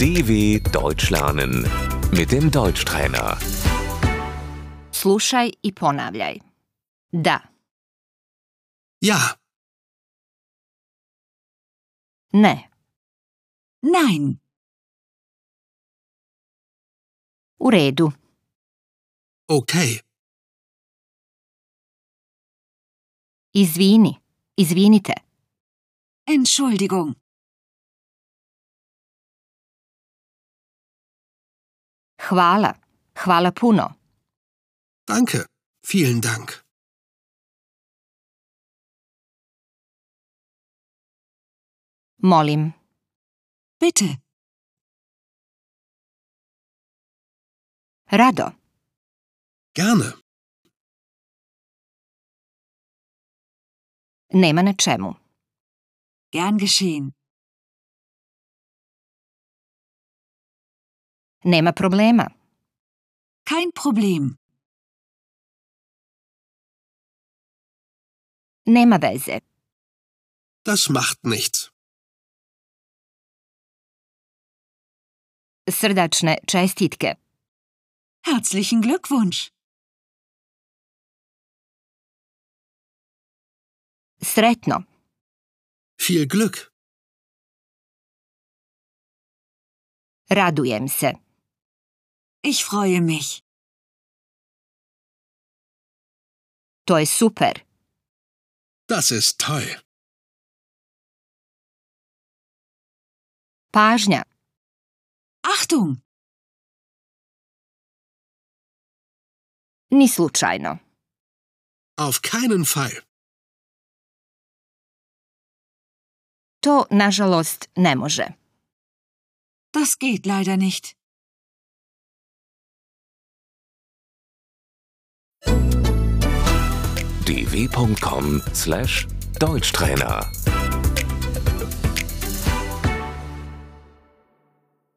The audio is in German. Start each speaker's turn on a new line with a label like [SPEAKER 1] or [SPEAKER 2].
[SPEAKER 1] DW Deutsch lernen mit dem Deutschtrainer.
[SPEAKER 2] Slušaj i ponavljaj. Da,
[SPEAKER 3] Ja,
[SPEAKER 2] ne,
[SPEAKER 4] Nein,
[SPEAKER 2] u redu,
[SPEAKER 3] okay,
[SPEAKER 2] izvini, izvinite,
[SPEAKER 4] Entschuldigung,
[SPEAKER 2] hvala, hvala puno,
[SPEAKER 3] danke, vielen Dank.
[SPEAKER 2] molim,
[SPEAKER 4] bitte,
[SPEAKER 2] rado,
[SPEAKER 3] Gerne,
[SPEAKER 2] nema na čemu.
[SPEAKER 4] gern geschehen,
[SPEAKER 2] Nema problema,
[SPEAKER 4] kein Problem,
[SPEAKER 2] nema veze,
[SPEAKER 3] das macht nichts.
[SPEAKER 2] srdačne čestitke,
[SPEAKER 4] herzlichen Glückwunsch,
[SPEAKER 2] sretno,
[SPEAKER 3] Viel Glück,
[SPEAKER 2] radujem se,
[SPEAKER 4] ich freue mich,
[SPEAKER 2] to je super,
[SPEAKER 3] das ist toll.
[SPEAKER 2] pažnja,
[SPEAKER 4] Achtung,
[SPEAKER 2] ni slučajno,
[SPEAKER 3] Auf keinen Fall.
[SPEAKER 2] to nažalost ne može.
[SPEAKER 4] das geht leider nicht.
[SPEAKER 1] dw.com/deutschtrainer